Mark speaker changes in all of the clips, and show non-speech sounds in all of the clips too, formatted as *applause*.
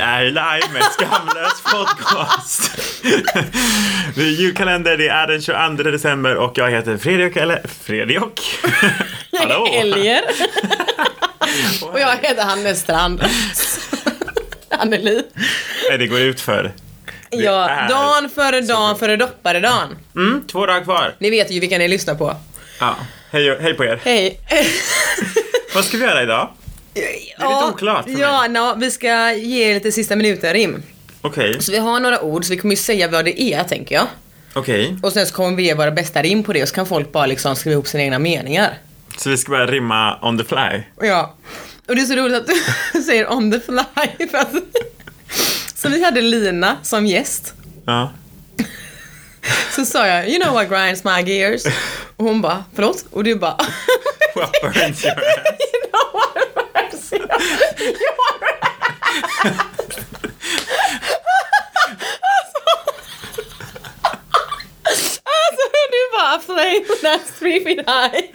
Speaker 1: är live med Skamlös podcast. Det är julkalender, det är den 22 december och jag heter Fredrik, eller Fredrik.
Speaker 2: *laughs*
Speaker 1: Hallå!
Speaker 2: Helger. Och jag heter Hannes Strand. Anneli.
Speaker 1: Nej, det går ut för. Det
Speaker 2: Ja,
Speaker 1: är-
Speaker 2: dan före dan före dopparedan.
Speaker 1: Mm, två dagar kvar.
Speaker 2: Ni vet ju vilka ni lyssnar på.
Speaker 1: Ja, hej, hej på er.
Speaker 2: Hej.
Speaker 1: Vad ska vi göra idag? lite oklart för mig.
Speaker 2: Ja, nå, vi ska ge er lite sista minuten-rim.
Speaker 1: Okej,
Speaker 2: Så vi har några ord, så vi kommer ju säga vad det är, tänker jag.
Speaker 1: okej.
Speaker 2: Och sen så kommer vi ge våra bästa rim på det och så kan folk bara liksom skriva ihop sina egna meningar.
Speaker 1: Så vi ska börja rimma on the fly.
Speaker 2: Ja. Och det är så roligt att du *laughs* säger on the fly. För att... Så vi hade Lina som gäst.
Speaker 1: Ja.
Speaker 2: Så sa jag, you know what grinds my gears? Och hon bara, förlåt? Och du bara,
Speaker 1: What burns your ass?
Speaker 2: *laughs* you know what burns your your
Speaker 1: *laughs*
Speaker 2: ass." Alltså, alltså du bara, a flame that's three feet
Speaker 1: *laughs*
Speaker 2: high.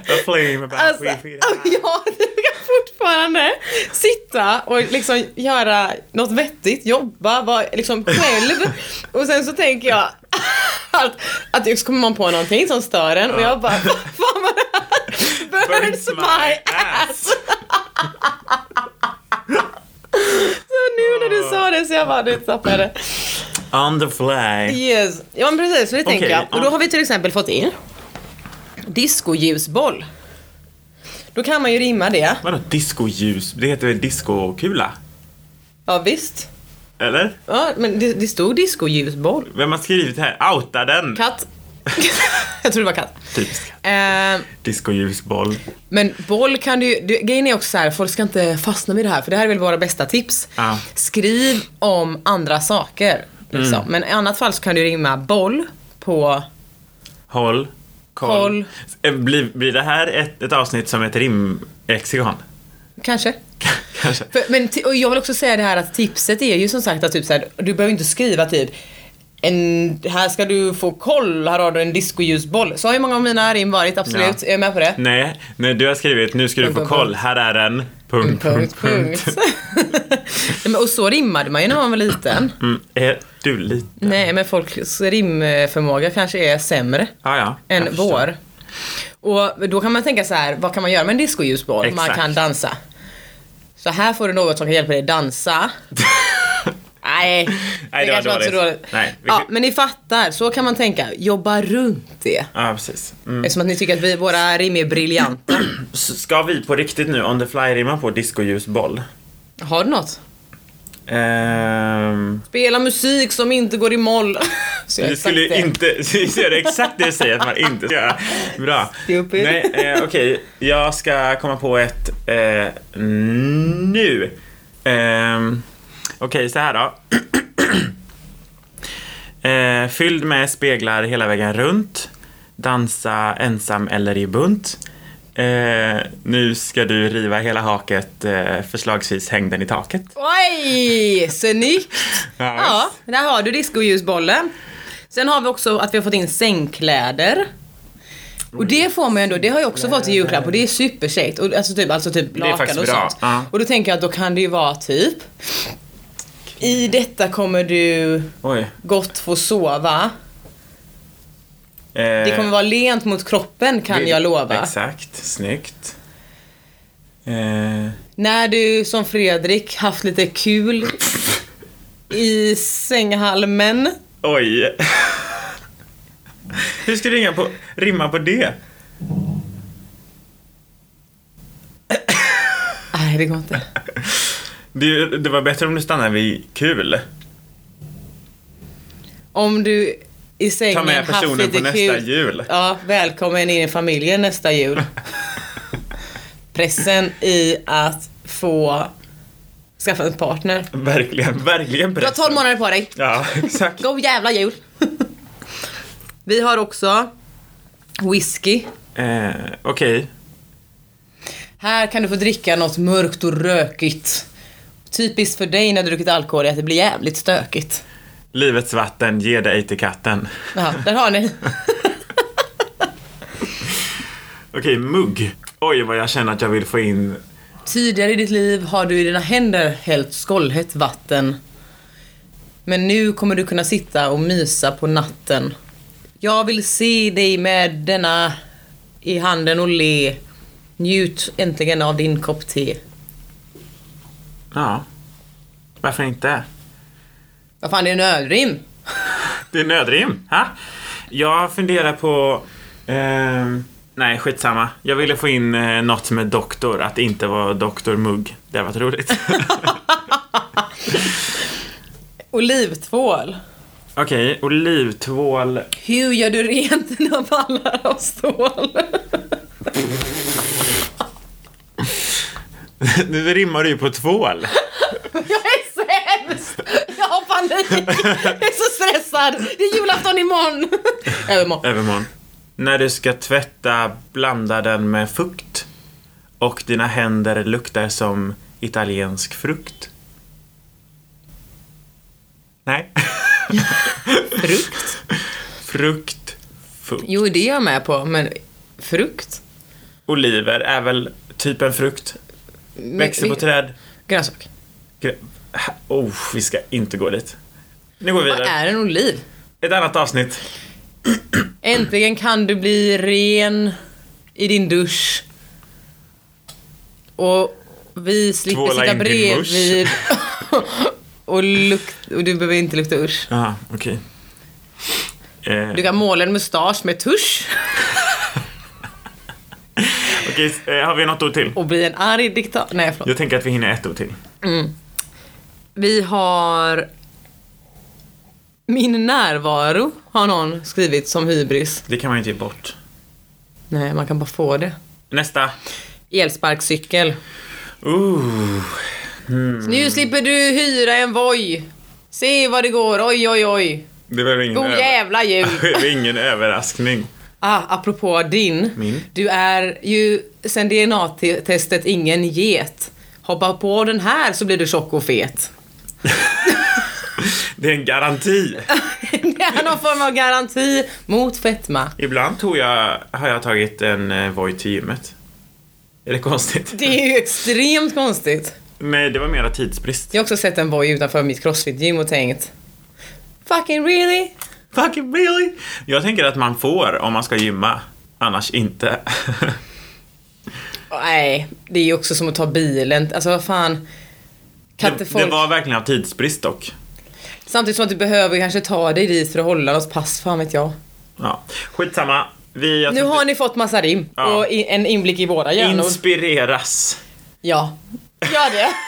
Speaker 1: A flame about
Speaker 2: Alltså,
Speaker 1: three
Speaker 2: *laughs*
Speaker 1: feet
Speaker 2: alltså,
Speaker 1: high.
Speaker 2: jag kan fortfarande sitta och liksom göra något vettigt, jobba, vara liksom *laughs* själv och sen så tänker jag att, att just kommer man på någonting som stör en och jag bara "Vad fan var det här? *laughs* Burns my ass! Så Alltså, nu när du sa det så jag bara, du tappade det.
Speaker 1: On the fly.
Speaker 2: Yes. Ja men precis, så det tänker
Speaker 1: Okej,
Speaker 2: jag. Och då
Speaker 1: ja.
Speaker 2: har vi till exempel fått in discoljusboll. Då kan man ju rimma det.
Speaker 1: Vadå discoljus? Det heter väl discokula?
Speaker 2: Ja visst.
Speaker 1: Eller?
Speaker 2: Ja, men det, det stod discoljusboll.
Speaker 1: Vem har skrivit det här? Outa den!
Speaker 2: Katt. *laughs* jag tror det var katt.
Speaker 1: Typiskt.
Speaker 2: Eh,
Speaker 1: Discoljusboll.
Speaker 2: men boll kan du ju... du- Grejen är också så här, folk ska inte fastna vid det här för det här är väl våra bästa tips.
Speaker 1: Ja.
Speaker 2: Skriv om andra saker. Liksom.
Speaker 1: Mm.
Speaker 2: Men i annat fall så kan du rimma boll på...
Speaker 1: Håll.
Speaker 2: Koll.
Speaker 1: Koll. Eh, Blir, blir det här ett, ett avsnitt som ett rimexikon?
Speaker 2: Kanske.
Speaker 1: *laughs* Kanske.
Speaker 2: För, men, ti- och jag vill också säga det här att tipset är ju som sagt att typ så här, du behöver inte skriva typ en, här ska du få koll, här har du en discoljusboll. Så har ju många av mina rim varit, absolut.
Speaker 1: Ja. Mm.
Speaker 2: Jag är med på det.
Speaker 1: Nej, nej, du har skrivit nu ska du
Speaker 2: Punkt,
Speaker 1: få
Speaker 2: punkt,
Speaker 1: koll,
Speaker 2: punkt.
Speaker 1: här är den. Punkt,
Speaker 2: Punkt, punkt. *laughs* Nej, men, och så rimmade man ju när man var liten.
Speaker 1: Mm, är du lite...
Speaker 2: Nej, men folks rimförmåga kanske är sämre
Speaker 1: Ah, ja, jag
Speaker 2: än
Speaker 1: förstår.
Speaker 2: vår. Och då kan man tänka så här, vad kan man göra med en discoljusboll? Man
Speaker 1: Exakt.
Speaker 2: kan dansa. Så här får du något som kan hjälpa
Speaker 1: *laughs*
Speaker 2: dig dansa. Nej,
Speaker 1: Nej, det var
Speaker 2: kanske så
Speaker 1: dåligt. Nej, vi-
Speaker 2: Ja, men ni fattar, så kan man tänka. Jobba runt det.
Speaker 1: Ja, precis. Mm.
Speaker 2: Eftersom att ni tycker att vi, våra rim är briljanta.
Speaker 1: S- Ska vi på riktigt nu on the fly rimma på discoljusboll?
Speaker 2: Har du något?
Speaker 1: Ehm,
Speaker 2: Spela musik som inte går i moll. Så jag
Speaker 1: vi
Speaker 2: exakt
Speaker 1: skulle ju
Speaker 2: det.
Speaker 1: inte *laughs* så gör det exakt det du säger att man inte ska göra. Bra.
Speaker 2: Det är uppe.
Speaker 1: Nej, eh, okej. Jag ska komma på ett eh, nu. Ehm, okej, så här då. *clears throat* Eh, fylld med speglar hela vägen runt. Dansa ensam eller i bunt. Eh, nu ska du riva hela haket, eh, förslagsvis häng den i taket.
Speaker 2: Oj, snyggt!
Speaker 1: Ja,
Speaker 2: Ja, där har du discoljusbollen. Sen har vi också att vi har fått in sängkläder. Och det får man ju ändå, det har jag också fått i julklapp och det är superkäckt. Och alltså typ, alltså typ
Speaker 1: är
Speaker 2: lakan
Speaker 1: faktiskt
Speaker 2: och
Speaker 1: bra,
Speaker 2: sånt.
Speaker 1: ja.
Speaker 2: Och då tänker jag att då kan det ju vara typ I detta kommer du
Speaker 1: Oj.
Speaker 2: gott få sova. Det kommer vara lent mot kroppen kan
Speaker 1: Vill-
Speaker 2: jag lova.
Speaker 1: Eh. Exakt, snyggt. Eh,
Speaker 2: När du som Fredrik haft lite kul i sänghalmen
Speaker 1: oj. Hur ska du ringa på, rimma på det?
Speaker 2: Nej, det går inte.
Speaker 1: det? Det var bättre om du stannade vid kul.
Speaker 2: Om du i sängen
Speaker 1: Ta med
Speaker 2: haft
Speaker 1: personen
Speaker 2: lite
Speaker 1: på nästa
Speaker 2: kul.
Speaker 1: jul.
Speaker 2: Ja, välkommen in i familjen
Speaker 1: *laughs*
Speaker 2: nästa jul. Pressen i att få skaffa en partner.
Speaker 1: Verkligen, verkligen
Speaker 2: Du har 12 månader på dig.
Speaker 1: Ja, exakt.
Speaker 2: God jävla jul. Vi har också whisky.
Speaker 1: Eh, Okej.
Speaker 2: Här kan du få dricka något mörkt och rökigt. Typiskt för dig när du druckit alkohol är att det blir jävligt stökigt.
Speaker 1: Livets vatten, ge dig till katten.
Speaker 2: Ja, där
Speaker 1: *laughs*
Speaker 2: har ni.
Speaker 1: Okej, mugg. Oj, vad jag känner att jag vill få in
Speaker 2: Tidigare i ditt liv har du i dina händer hällt skållhett vatten. Men nu kommer du kunna sitta och mysa på natten. Jag vill se dig med denna i handen och le. Njut äntligen av din kopp te.
Speaker 1: Ja. Varför inte?
Speaker 2: Vad fan, det är en ölrim.
Speaker 1: Det är nödrim. Ha? Jag funderar på... ehm, nej, skitsamma. Jag ville få in eh, något med doktor, att inte vara doktor Mugg. Det hade varit roligt.
Speaker 3: Olivtvål.
Speaker 1: Okej, olivtvål. *laughs*
Speaker 2: Hur gör du rent dina ballar av stål?
Speaker 1: nu rimmar du ju på tvål.
Speaker 3: Jag är sämst! Jag har panik! Jag är så stressad! Det är julafton imorgon! Övermorgon.
Speaker 1: Övermorgon. När du ska tvätta, blanda den med fukt. Och dina händer luktar som italiensk frukt. Nej. *laughs*
Speaker 2: Frukt?
Speaker 1: Frukt. Fukt.
Speaker 2: Jo, det är jag med på, men frukt?
Speaker 1: Oliver är väl typ en frukt. Växer på träd.
Speaker 2: Grönsak.
Speaker 1: Gre- Oh, vi ska inte gå dit. Nu går vi
Speaker 2: Vad
Speaker 1: vidare.
Speaker 2: är en oliv?
Speaker 1: Ett annat avsnitt.
Speaker 2: Äntligen kan du bli ren i din dusch. Och vi slipper
Speaker 1: Tvåla
Speaker 2: sitta
Speaker 1: in din
Speaker 2: bredvid. *laughs* och, luk- och du behöver inte lukta usch.
Speaker 1: Jaha, Ah, okej. Eh,
Speaker 2: Du kan måla en mustasch med tusch
Speaker 1: Okej, eh, har vi något ord till?
Speaker 2: och bli en arg diktator. Nej, förlåt.
Speaker 1: Jag tänker att vi hinner ett ord till.
Speaker 2: Vi har... Min närvaro har någon skrivit som hybris.
Speaker 1: Det kan man ju inte ge bort.
Speaker 2: Nej, man kan bara få det.
Speaker 1: Nästa.
Speaker 2: Elsparkcykel.
Speaker 1: Ooh. Mm.
Speaker 2: Nu slipper du hyra en Voi. Se vad det går, oj oj oj.
Speaker 1: Det var ingen,
Speaker 2: God jävla jul.
Speaker 1: *laughs* det var ingen överraskning.
Speaker 2: Ah, apropå din.
Speaker 1: Min.
Speaker 2: Du är ju sen DNA-testet ingen get. Hoppa på den här så blir du tjock
Speaker 1: *laughs*
Speaker 2: och fet.
Speaker 1: Det är en garanti.
Speaker 2: Det är någon form av garanti mot fetma.
Speaker 1: Ibland tog jag, har jag tagit en eh, Voi till gymmet. Är det konstigt?
Speaker 2: Det är ju extremt konstigt.
Speaker 1: Nej, det var mera tidsbrist.
Speaker 2: Jag har också sett en boy utanför mitt crossfit-gym och tänkt Fucking really?
Speaker 1: Fucking really? Jag tänker att man får om man ska gymma. Annars
Speaker 2: *laughs*
Speaker 1: inte.
Speaker 2: Nej, det är ju också som att ta bilen. Alltså vad fan. Kan
Speaker 1: det,
Speaker 2: inte
Speaker 1: det
Speaker 2: folk...
Speaker 1: var verkligen av tidsbrist dock.
Speaker 2: Samtidigt som att du behöver kanske ta dig dit för att hålla något pass, fan vet jag.
Speaker 1: Ja. Skitsamma. Vi jag
Speaker 2: Nu
Speaker 1: tänkte
Speaker 2: har ni fått massa rim
Speaker 1: Ja.
Speaker 2: och i- en inblick i våra hjärnor.
Speaker 1: inspireras.
Speaker 2: ja. Gör det.
Speaker 1: *laughs*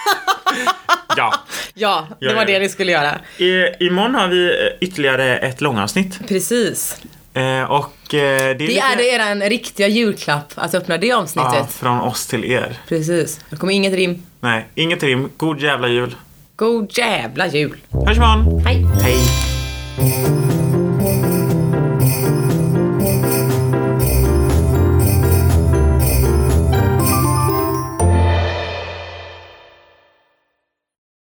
Speaker 1: Ja.
Speaker 2: Ja,
Speaker 1: Gör
Speaker 2: det var
Speaker 1: det.
Speaker 2: det ni skulle göra.
Speaker 1: I, imorgon har vi eh, ytterligare ett långavsnitt.
Speaker 2: Precis.
Speaker 1: Eh, och eh, det är,
Speaker 2: Det är det er riktiga julklapp att öppna det avsnittet.
Speaker 1: ja, från oss till er.
Speaker 2: Precis. Det kommer inget rim.
Speaker 1: Nej, inget rim. God jävla jul.
Speaker 2: God jävla jul.
Speaker 1: Hörs imorgon.
Speaker 2: Hej.
Speaker 1: Hej.